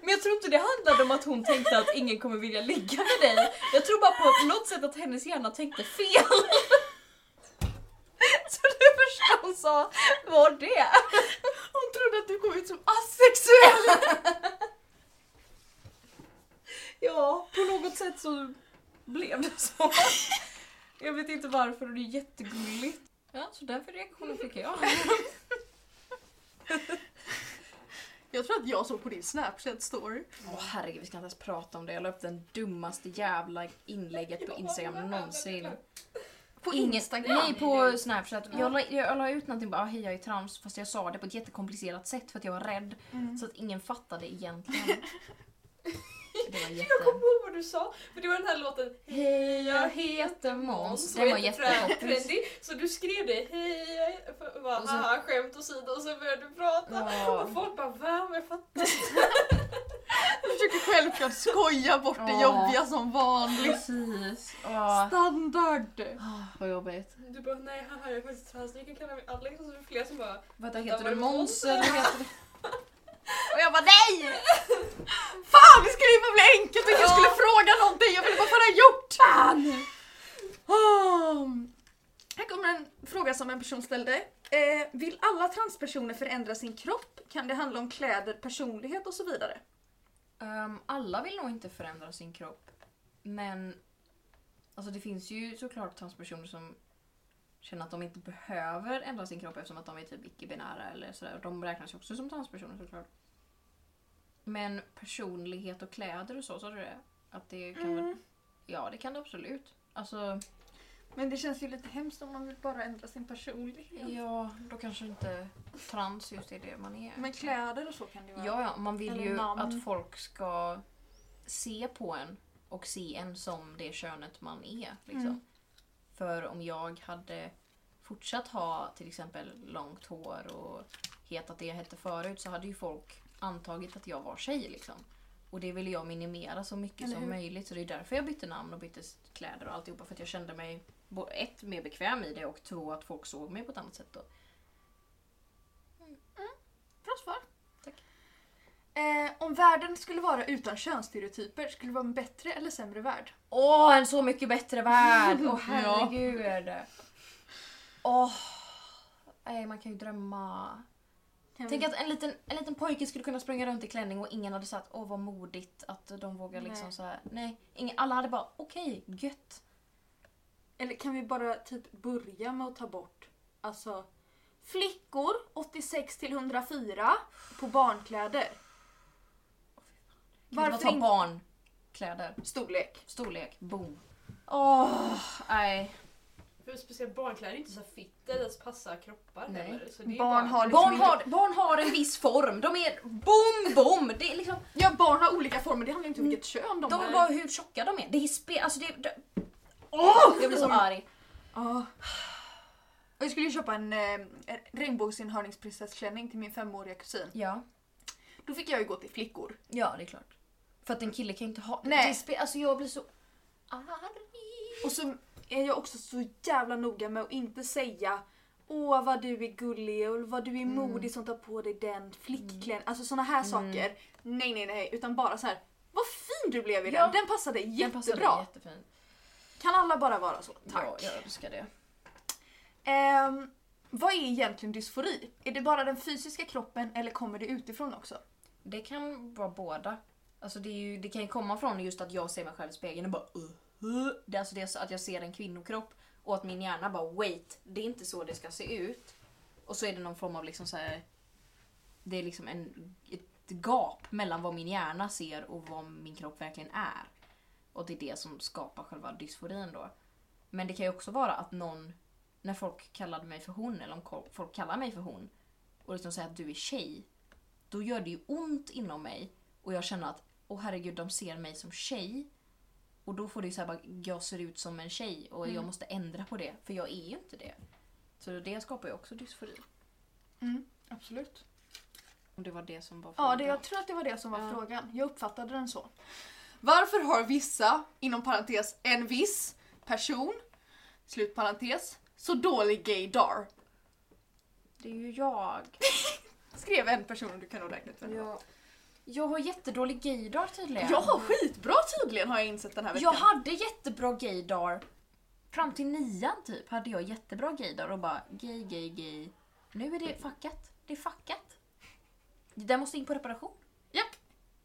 men jag tror inte det handlade om att hon tänkte att ingen kommer vilja ligga med dig. Jag tror bara på något sätt att hennes hjärna tänkte fel. Så det första hon sa var det.
Hon trodde att du kom ut som asexuell!
Ja, på något sätt så blev det så. Jag vet inte varför och det är jättegulligt. Ja, så därför reaktionen fick jag.
Jag tror att jag såg på din Snapchat-story.
Åh herregud, vi ska inte ens prata om det. Jag la upp den dummaste jävla inlägget på Instagram någonsin.
På
Ingen-
Instagram?
Nej, på Snapchat. Jag la, jag la ut någonting bara ah, hej jag är trans fast jag sa det på ett jättekomplicerat sätt för att jag var rädd.
Mm.
Så att ingen fattade egentligen. Det var jätte...
Jag kommer ihåg vad du sa, för det var den här låten Hej jag heter Måns.
Den var
Och inte
jättepoppis.
trendy. Så du skrev det, hej jag heter-" för- bara,
Och sen-
haha skämt åsido och sen började du prata.
Ja.
Och folk bara va? Men jag fattar.
Jag försöker självklart skoja bort det
Ja.
jobbiga som vanligt.
Precis. Åh,
Standard!
vad jobbigt.
Du bara nej haha jag är faktiskt trans, ni kan kalla mig Alex. Och så är det flera som bara
Vänta,
Vänta,
heter
var
du
det
Måns
Måns?
eller heter du...
Och jag bara NEJ! Fan det skulle ju bara bli enkelt och ingen skulle fråga någonting. Jag ville bara få det gjort. Fan! Här kommer en fråga som en person ställde. Eh, vill alla transpersoner förändra sin kropp? Kan det handla om kläder, personlighet och så vidare?
Ehm, alla vill nog inte förändra sin kropp. Men alltså det finns ju såklart transpersoner som känner att de inte behöver ändra sin kropp eftersom att de är typ icke-binära eller sådär. De räknas ju också som transpersoner såklart. Men personlighet och kläder och så, sa du det? Att det kan väl... Ja, det kan det absolut. Alltså,
Men det känns ju lite hemskt om man vill bara ändra sin personlighet.
ja, då kanske inte trans just är det man är.
Men kläder och så kan det ju vara.
Ja, ja, man vill
Eller
ju
namn.
att folk ska se på en och se en som det könet man är. Liksom.
Mm.
För om jag hade fortsatt ha till exempel långt hår och hetat det jag hette förut så hade ju folk antagit att jag var tjej. Liksom. Och det ville jag minimera så mycket
Eller
som
hur?
möjligt så det är därför jag bytte namn och bytte kläder och alltihopa för att jag kände mig bo- ett, mer bekväm i det och två, att folk såg mig på ett annat sätt då.
Bra svar.
Tack.
Eh, om världen skulle vara utan könsstereotyper, skulle det vara en bättre eller sämre värld?
Åh, en så mycket bättre värld! Åh herregud! Åh! Nej, man kan ju drömma.
Kan
Tänk att en liten, en liten pojke skulle kunna springa runt i klänning och ingen hade sagt åh vad modigt att de vågar liksom
Nej.
så här. Nej, ingen, alla hade bara okej, gött.
Eller kan vi bara typ börja med att ta bort alltså flickor 86 till 104 på barnkläder.
Varför bara
Varför
ta
inte
barn, kläder,
storlek?
storlek, boom. Åh, nej.
För speciellt barnkläder är inte så här fit eller ens passar kroppar
Nej.
heller. Så det
Barn
är bara...
har liksom
Barn
inte-
har, barn har en viss form, de är boom, boom. Det är liksom,
Ja, barn har olika former, det handlar inte om vilket kön Mm. de,
de
har.
är bara hur tjocka de är. Det är spe, alltså det, det Åh! Jag blir så arg.
Ja. Ah. Jag skulle ju köpa en eh, regnbågsinhörningsprinsessklänning till min femåriga kusin.
Ja,
Då fick jag ju gå till flickor.
ja det är klart. För att en kille kan ju inte ha...
Nej. Ah,
Det spe- alltså jag blir så...
Och så är jag också så jävla noga med att inte säga Åh vad du är gullig och vad du är
Mm.
modig som tar på dig den flickklänningen. Alltså såna här saker. Nej nej nej. Utan bara så här. Vad fin du blev i
Ja.
den. Den passade
Den
jättebra.
passar dig jättefint.
Kan alla bara vara så? Tack.
Ja, jag önskar det.
Ehm, vad är egentligen dysfori? Är det bara den fysiska kroppen eller kommer det utifrån också?
Det kan vara båda. Alltså det, är ju, det kan ju komma från just att jag ser mig själv i spegeln och bara uh, Det är alltså det är så att jag ser en kvinnokropp och att min hjärna bara wait, det är inte så det ska se ut. Och så är det någon form av liksom så här. Det är liksom en, ett gap mellan vad min hjärna ser och vad min kropp verkligen är. Och det är det som skapar själva dysforin då. Men det kan ju också vara att någon, när folk kallade mig för hon eller om ko- folk kallar mig för hon och liksom säger att du är tjej då gör det ju ont inom mig och jag känner att åh herregud de ser mig som tjej. Och då får det ju såhär bara, jag ser ut som en tjej och jag måste ändra på det för jag är ju inte det. Så det skapar ju också dysfori.
Mm. Absolut.
Om det var det som var
Ja,
frågan.
det, jag tror att det var det som var
Ja.
frågan. Jag uppfattade den så. Varför har vissa, inom parentes en viss person, slutparentes, så dålig gaydar?
det är ju jag.
Skrev en person, du kan nog räkna ut vem det var.
Jag, jag har jättedålig gaydar tydligen.
Jag har skitbra tydligen har jag insett den här
Jag
veckan.
hade jättebra gaydar. Fram till nian typ hade jag jättebra gaydar och bara gay, gay, gay. Nu är det fuckat. Det är fuckat. Det där måste in på reparation.
Japp!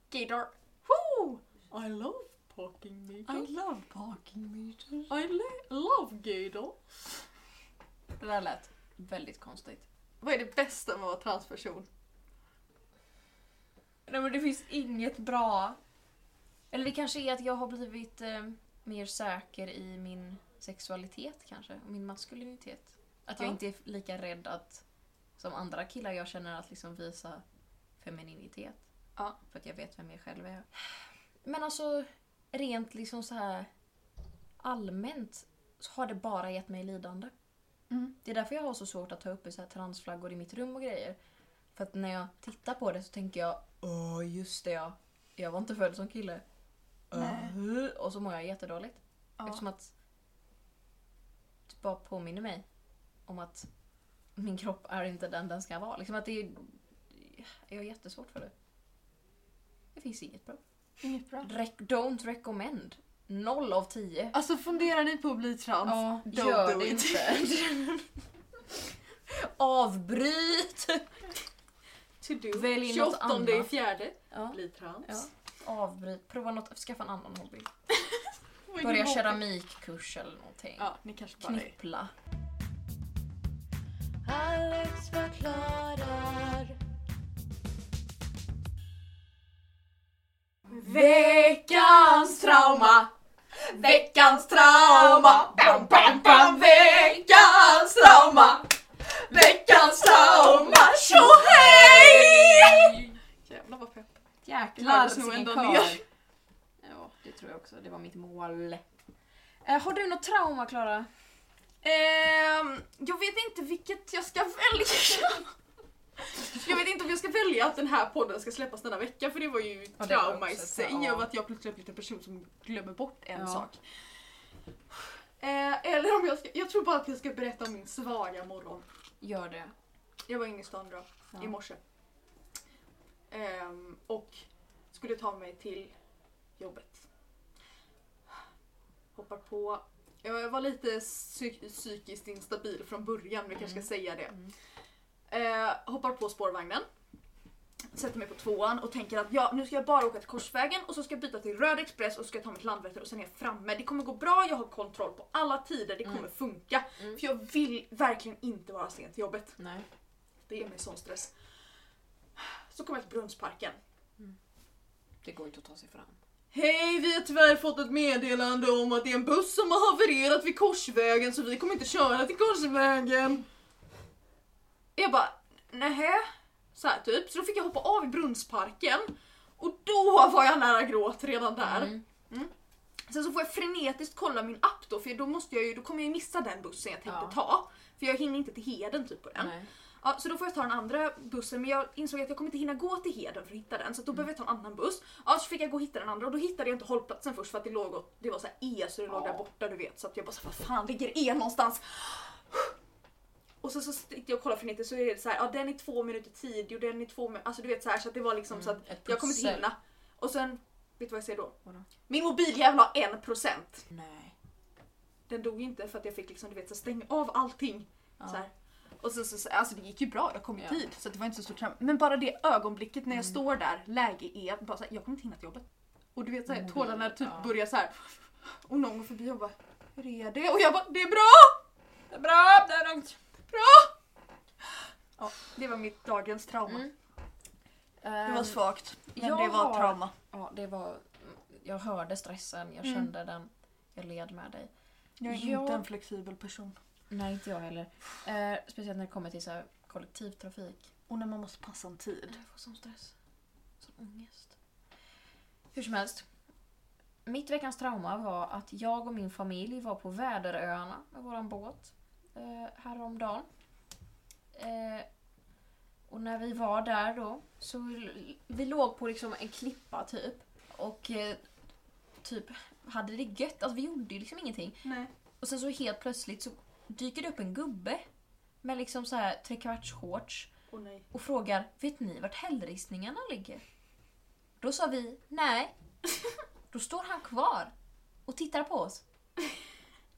Gaydar. Woo! I love parking
I
meter.
love parking meters.
I le- love gator.
Det där lät väldigt konstigt.
Vad är det bästa med att vara transperson?
Nej men det finns inget bra. Eller det kanske är att jag har blivit eh, mer säker i min sexualitet kanske, och min maskulinitet. Att jag
Ja.
inte är lika rädd att, som andra killar jag känner, att liksom visa femininitet.
Ja.
För att jag vet vem jag själv är. Men alltså, rent liksom så här allmänt så har det bara gett mig lidande.
Mm.
Det är därför jag har så svårt att ta upp så här transflaggor i mitt rum och grejer. För att när jag tittar på det så tänker jag Åh just det ja, jag var inte född som kille.
Nej.
Öh, Och så mår jag jättedåligt.
Ja.
Eftersom att det bara påminner mig om att min kropp är inte den den ska vara. Liksom att det är, jag har jättesvårt för det. Det finns inget bra.
Inget bra.
Rec- don't recommend. Noll av tio.
Alltså funderar ni på att bli trans?
Ja,
don't
gör
do
det
it.
inte. Avbryt!
To do.
Välj något
28 i
annat.
fjärde.
Ja.
Bli trans.
Ja. Avbryt. Prova något. Skaffa en annan hobby.
Vad är
Börja
det?
keramikkurs eller någonting.
Ja, ni kanske bara är.
Knippla.
Alex förklarar.
Veckans trauma! Veckans trauma! Bam, bam, bam, veckans trauma! Veckans trauma! Tjohej!
Jävlar vad pepp.
Jäklar
Klarades nog
vilken
ändå
karl.
ner.
Ja, det tror jag också. Det var mitt mål. Eh, har du något trauma Klara?
Ehm, jag vet inte vilket jag ska välja. Jag vet inte om jag ska välja att den här podden ska släppas denna vecka för det var ju
var
trauma
också
i
ett
sig
trauma.
av att jag plötsligt har blivit en person som glömmer bort en
Ja.
sak. Eh, eller om jag ska, jag tror bara att jag ska berätta om min svaga morgon.
Gör det.
Jag var inne i stan då,
Ja.
i morse. Ehm, och skulle ta mig till jobbet. Hoppar på. Jag var lite psy- psykiskt instabil från början, vi kanske
Mm.
ska säga det. Eh, hoppar på spårvagnen. Sätter mig på tvåan och tänker att ja, nu ska jag bara åka till Korsvägen och så ska jag byta till Röd Express och så ska jag ta mig till Landvetter och sen är jag framme. Det kommer gå bra, jag har kontroll på alla tider, det kommer funka.
Mm.
För jag vill verkligen inte vara sen till jobbet.
Nej.
Det ger mig sån stress. Så kommer jag till Brunnsparken.
Det går inte att ta sig fram.
Hej, vi har tyvärr fått ett meddelande om att det är en buss som har havererat vid Korsvägen så vi kommer inte köra till Korsvägen. Jag bara, nähä? Så här typ. Så då fick jag hoppa av i Brunnsparken och då var jag nära gråt redan där.
Mm.
Sen så får jag frenetiskt kolla min app då för då, måste jag ju, då kommer jag ju missa den bussen jag tänkte
Ja.
ta. För jag hinner inte till Heden typ på den.
Nej.
Ja, så då får jag ta den andra bussen men jag insåg att jag kommer inte hinna gå till Heden för att hitta den så att
Mm.
då behöver jag ta en annan buss. Ja, så fick jag gå och hitta den andra och då hittade jag inte hållplatsen först för att det låg åt, det var så här E så det låg där borta du vet så att jag bara så här, vad fan ligger E någonstans? Och så, så sitter jag och kollar frenetiskt så är det så här, ja den är två minuter tidig och den är två minuter, alltså du vet så här så att det var liksom så att
Mm, ett
jag kommer inte
pussel.
hinna. Och sen, vet du vad jag säger då?
Vadå?
Min mobiljävel har en procent.
Nej.
Den dog inte för att jag fick liksom du vet så här, stänga av allting.
Ja.
Så här. Och så, så, så, alltså det gick ju bra, jag kom i
Ja. Mm.
tid. Så det var inte så stort trauma. Men bara det ögonblicket när jag står där, läge är bara så här, jag kommer inte hinna till jobbet. Och du vet såhär,
Mobil,
tårarna typ
Mm. ja.
börjar så här. Och någon går förbi och bara, hur är det? Och jag bara, det är bra!
Det är bra, det är lugnt.
Bra! Ja, det var mitt dagens trauma.
Mm.
Det var svagt, men
jag
det var
har-
trauma.
Eh, Ja, det var... Jag hörde stressen, jag
Mm.
kände den. Jag led med dig.
Jag är
jag-
inte en flexibel person.
Nej, inte jag heller. Eh, speciellt när det kommer till så här kollektivtrafik.
Och när man måste passa en tid.
Jag får sån stress. Sån ångest. Hur som helst. Mitt veckans trauma var att jag och min familj var på Väderöarna med våran båt eh, häromdagen. Eh, och när vi var där då så l- vi låg på liksom en klippa typ och eh, typ hade det gött. Alltså vi gjorde ju liksom ingenting.
Nej.
Och sen så helt plötsligt så dyker det upp en gubbe med liksom så här trekvarts shorts
Åh nej.
och frågar Vet ni vart hällristningarna ligger? Då sa vi nej. Då står han kvar och tittar på oss.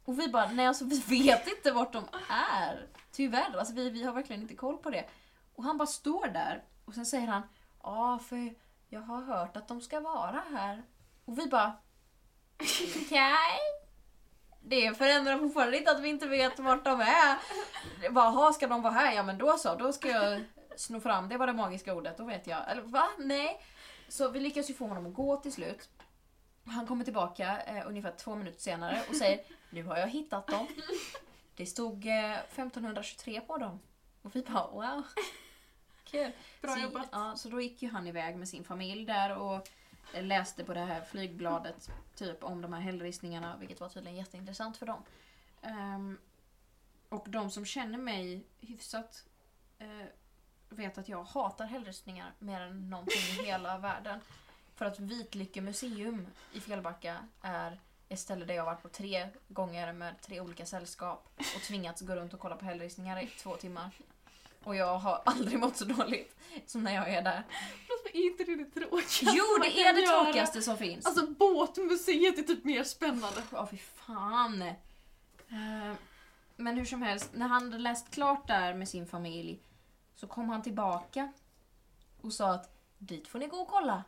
Och vi bara nej alltså vi vet inte vart de är. Tyvärr, alltså vi, vi har verkligen inte koll på det. Och han bara står där och sen säger han Ja för jag har hört att de ska vara här. Och vi bara Okej. Det förändrar fortfarande inte att vi inte vet vart de är. Det är Bara, "Jaha, ska de vara här? Ja men då så, då ska jag sno fram, det var det magiska ordet, då vet jag. Eller va? Nej. Så vi lyckas ju få honom att gå till slut. Han kommer tillbaka eh, ungefär två minuter senare och säger Nu har jag hittat dem. Det stod eh, 1523 på dem. Och vi bara wow. Kul.
Bra
så,
jobbat.
Ja, så då gick ju han iväg med sin familj där och läste på det här flygbladet typ om de här hällristningarna vilket var tydligen jätteintressant för dem. Ehm, och de som känner mig hyfsat eh, vet att jag hatar hällristningar mer än någonting i hela världen. För att Vitlycke museum i Fjällbacka är ett ställe där jag har varit på tre gånger med tre olika sällskap och tvingats gå runt och kolla på hällristningar i två timmar. Och jag har aldrig mått så dåligt som när jag är där.
Fast är inte det det tråkigaste
Jo,
man
det
kan
är det
göra?
tråkigaste som finns!
Alltså båtmuseet är typ mer spännande.
Ja, fy fan. Eh, Men hur som helst, när han hade läst klart där med sin familj så kom han tillbaka och sa att dit får ni gå och kolla.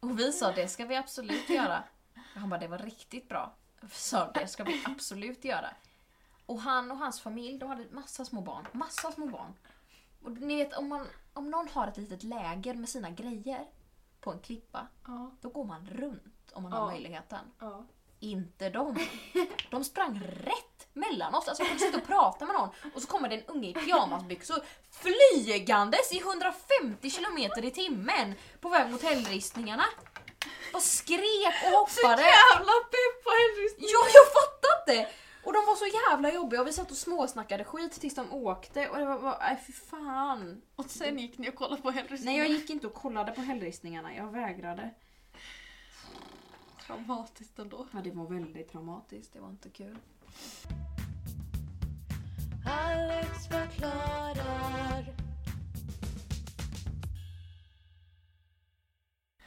Och vi sa det ska vi absolut göra. Och han bara det var riktigt bra. Vi sa det ska vi absolut göra. Och han och hans familj, de hade massa små barn. Massa små barn. Och ni vet om, man, om någon har ett litet läger med sina grejer på en klippa,
Ja.
då går man runt om man har
Ja.
möjligheten.
Ja.
Inte de. De sprang rätt mellan oss. Alltså jag kunde sitta och prata med någon och så kommer det en unge i pyjamasbyxor flygandes i 150 km i timmen på väg mot hällristningarna. Bara skrek och hoppade.
Jävla pepp på Henrys
Ja, jag fattar inte! Och de var så jävla jobbiga och vi satt och småsnackade skit tills de åkte och det var bara, nej fy fan.
Och sen gick ni och kollade på Henrys
Nej jag gick inte och kollade på hällristningarna, jag vägrade.
Traumatiskt ändå.
Ja, det var väldigt traumatiskt, det var inte kul.
Alex förklarar.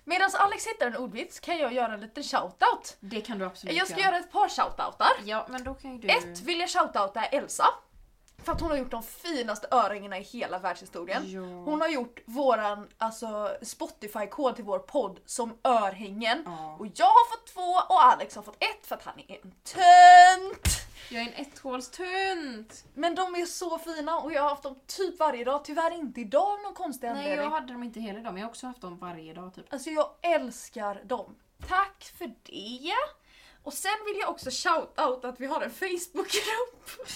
Medan Alex hittar en ordvits kan jag göra en liten shoutout.
Det kan du absolut
Jag ska göra ett par shoutoutar.
Ja, men då kan ju du...
Ett vill jag shoutouta Elsa. För att hon har gjort de finaste öringarna i hela världshistorien.
Ja.
Hon har gjort våran alltså, Spotify-kod till vår podd som örhängen.
Ja.
Och jag har fått två och Alex har fått ett för att han är en tönt!
Jag är en etthålstönt!
Men de är så fina och jag har haft dem typ varje dag. Tyvärr inte idag av någon konstig
Nej,
anledning.
jag hade dem inte hela dagen, men jag har också haft dem varje dag typ.
Alltså jag älskar dem. Tack för det! Och sen vill jag också shout-out att vi har en Facebookgrupp.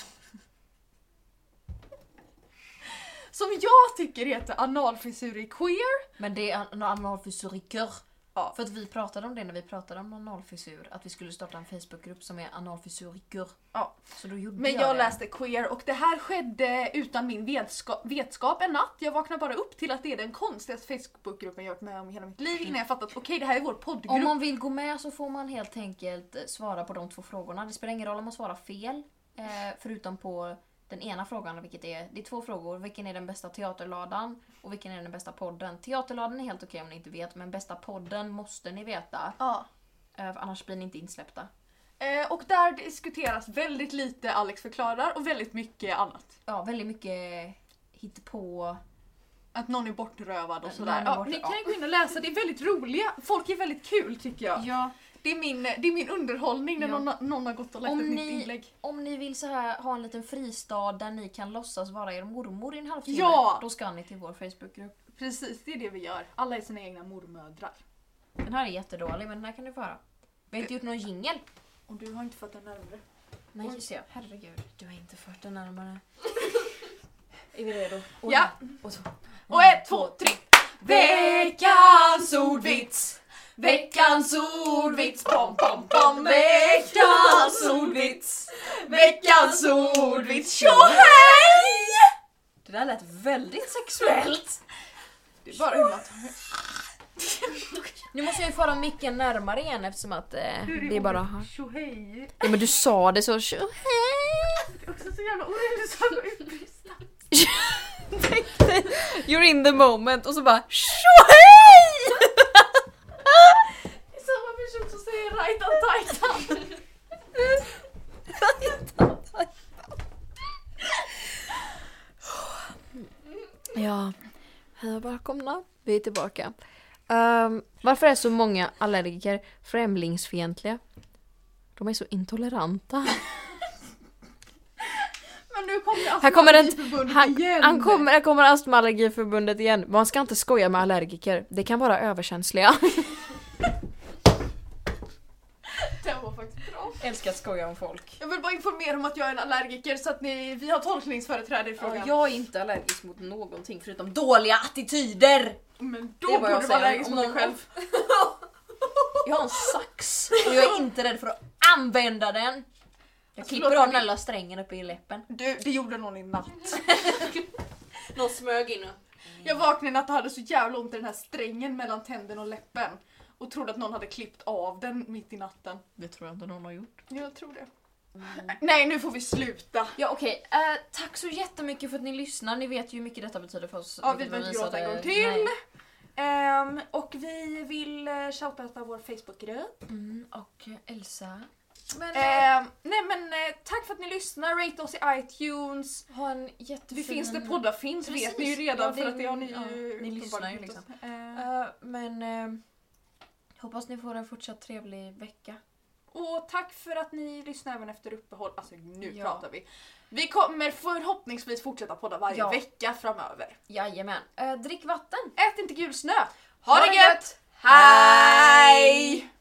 Som jag tycker heter analfrisurer queer.
Men det är en analfysuriker.
Ja.
För att vi pratade om det när vi pratade om analfysur, att vi skulle starta en Facebookgrupp som är analfysuriker.
Ja.
Så då gjorde
Men
jag,
jag
det.
läste queer och det här skedde utan min vetska- vetskap en natt. Jag vaknade bara upp till att det är den konstigaste Facebookgruppen jag varit med om i hela mitt liv innan jag fattat okej det här är vår poddgrupp.
Om man vill gå med så får man helt enkelt eh, svara på de två frågorna. Det spelar ingen roll om man svarar fel, eh, förutom på den ena frågan, vilket är, det är två frågor. Vilken är den bästa teaterladan och vilken är den bästa podden? Teaterladan är helt okej om ni inte vet, men bästa podden måste ni veta.
Ja.
Eh, för Annars blir ni inte insläppta.
Eh, och där diskuteras väldigt lite Alex förklarar och väldigt mycket annat.
Ja, väldigt mycket hittepå.
Att någon är bortrövad och
Att
sådär.
någon är
Ja,
borta-
ni
ja.
kan gå in och läsa, det är väldigt roliga. Folk är väldigt kul tycker jag.
Ja,
Det är min, det är min underhållning när
Ja.
någon, har- någon har gått och lagt
Om
ett nytt
ni-
inlägg.
Om ni vill så här, ha en liten fristad där ni kan låtsas vara er mormor i en halvtimme,
Ja!
då ska ni till vår Facebookgrupp.
Precis, det är det vi gör. Alla är sina egna mormödrar.
Den här är jättedålig, men den här kan du få höra. Vi har inte gjort någon jingel.
Och du har inte fått den närmare.
Nej, just det. Herregud, du har inte fört den närmare. är vi redo? Och
Ja.
Och så.
Och ett, två, tre! Veckans ordvits! Veckans ordvits! Pom, pom, pom! Veckans ordvits! Veckans ordvits! Tjohej!
Det där lät väldigt sexuellt.
Det är bara himla
Nu måste jag ju föra micken närmare igen eftersom att eh, det är bara här.
Tjohej!
Ja, men du sa det så... Tjo,
Också så jävla orättvis.
You're in the moment och så bara tjohej!
Det är samma person som säger right on Titan.
Ja, hej och välkomna. Vi är tillbaka. Ehm, varför är så många allergiker främlingsfientliga? De är så intoleranta.
Men nu kommer
Här kommer en-
Astmaförbundet
han-
igen!
Han kommer, här kommer Astmaallergiförbundet igen. Man ska inte skoja med allergiker. Det kan vara överkänsliga.
Den var faktiskt bra.
Älskar att skoja om folk.
Jag vill bara informera om att jag är en allergiker så att ni, vi har tolkningsföreträde i frågan.
Jag är inte allergisk mot någonting förutom dåliga attityder!
Men
Det
då
är vad
borde
jag
du vara
säger.
allergisk
Om
mot dig
någon-
själv.
Jag har en sax och jag är inte rädd för att använda den. Jag klipper
förlåt,
av
men-
den lilla strängen uppe i läppen.
Du, det gjorde någon i natt.
Någon smög in
Jag vaknade i natt och hade så jävla ont i den här strängen mellan tänden och läppen. Och trodde att någon hade klippt av den mitt i natten.
Det tror jag inte någon har gjort.
Jag tror det.
Mm.
Nej, nu får vi sluta.
Ja okej, Eh, tack så jättemycket för att ni lyssnar. Ni vet ju hur mycket detta betyder för oss.
Ja, vi
vilket
behöver inte
visade-
gråta en gång till.
Nej.
Ehm, och vi vill eh, shoutouta vår Facebookgrupp.
Mm, och Elsa. Men
Ehm, nej men eh, tack för att ni lyssnar, rate oss i iTunes.
ha en
Eh, Det
jättefin...
finns det poddar finns
Precis.
vet ni ju redan
Ja, det-
för att det har ni
ja, ni
ju uppenbarligen
lyssnar ju
gjort oss. Ehm,
Eh, men eh, hoppas ni får en fortsatt trevlig vecka.
och tack för att ni lyssnar även efter uppehåll. Alltså nu
Ja.
pratar vi. Vi kommer förhoppningsvis fortsätta podda varje
Ja.
vecka framöver.
Jajamän. Eh, drick vatten!
Ät inte gul snö!
Ha det gött!
Hej!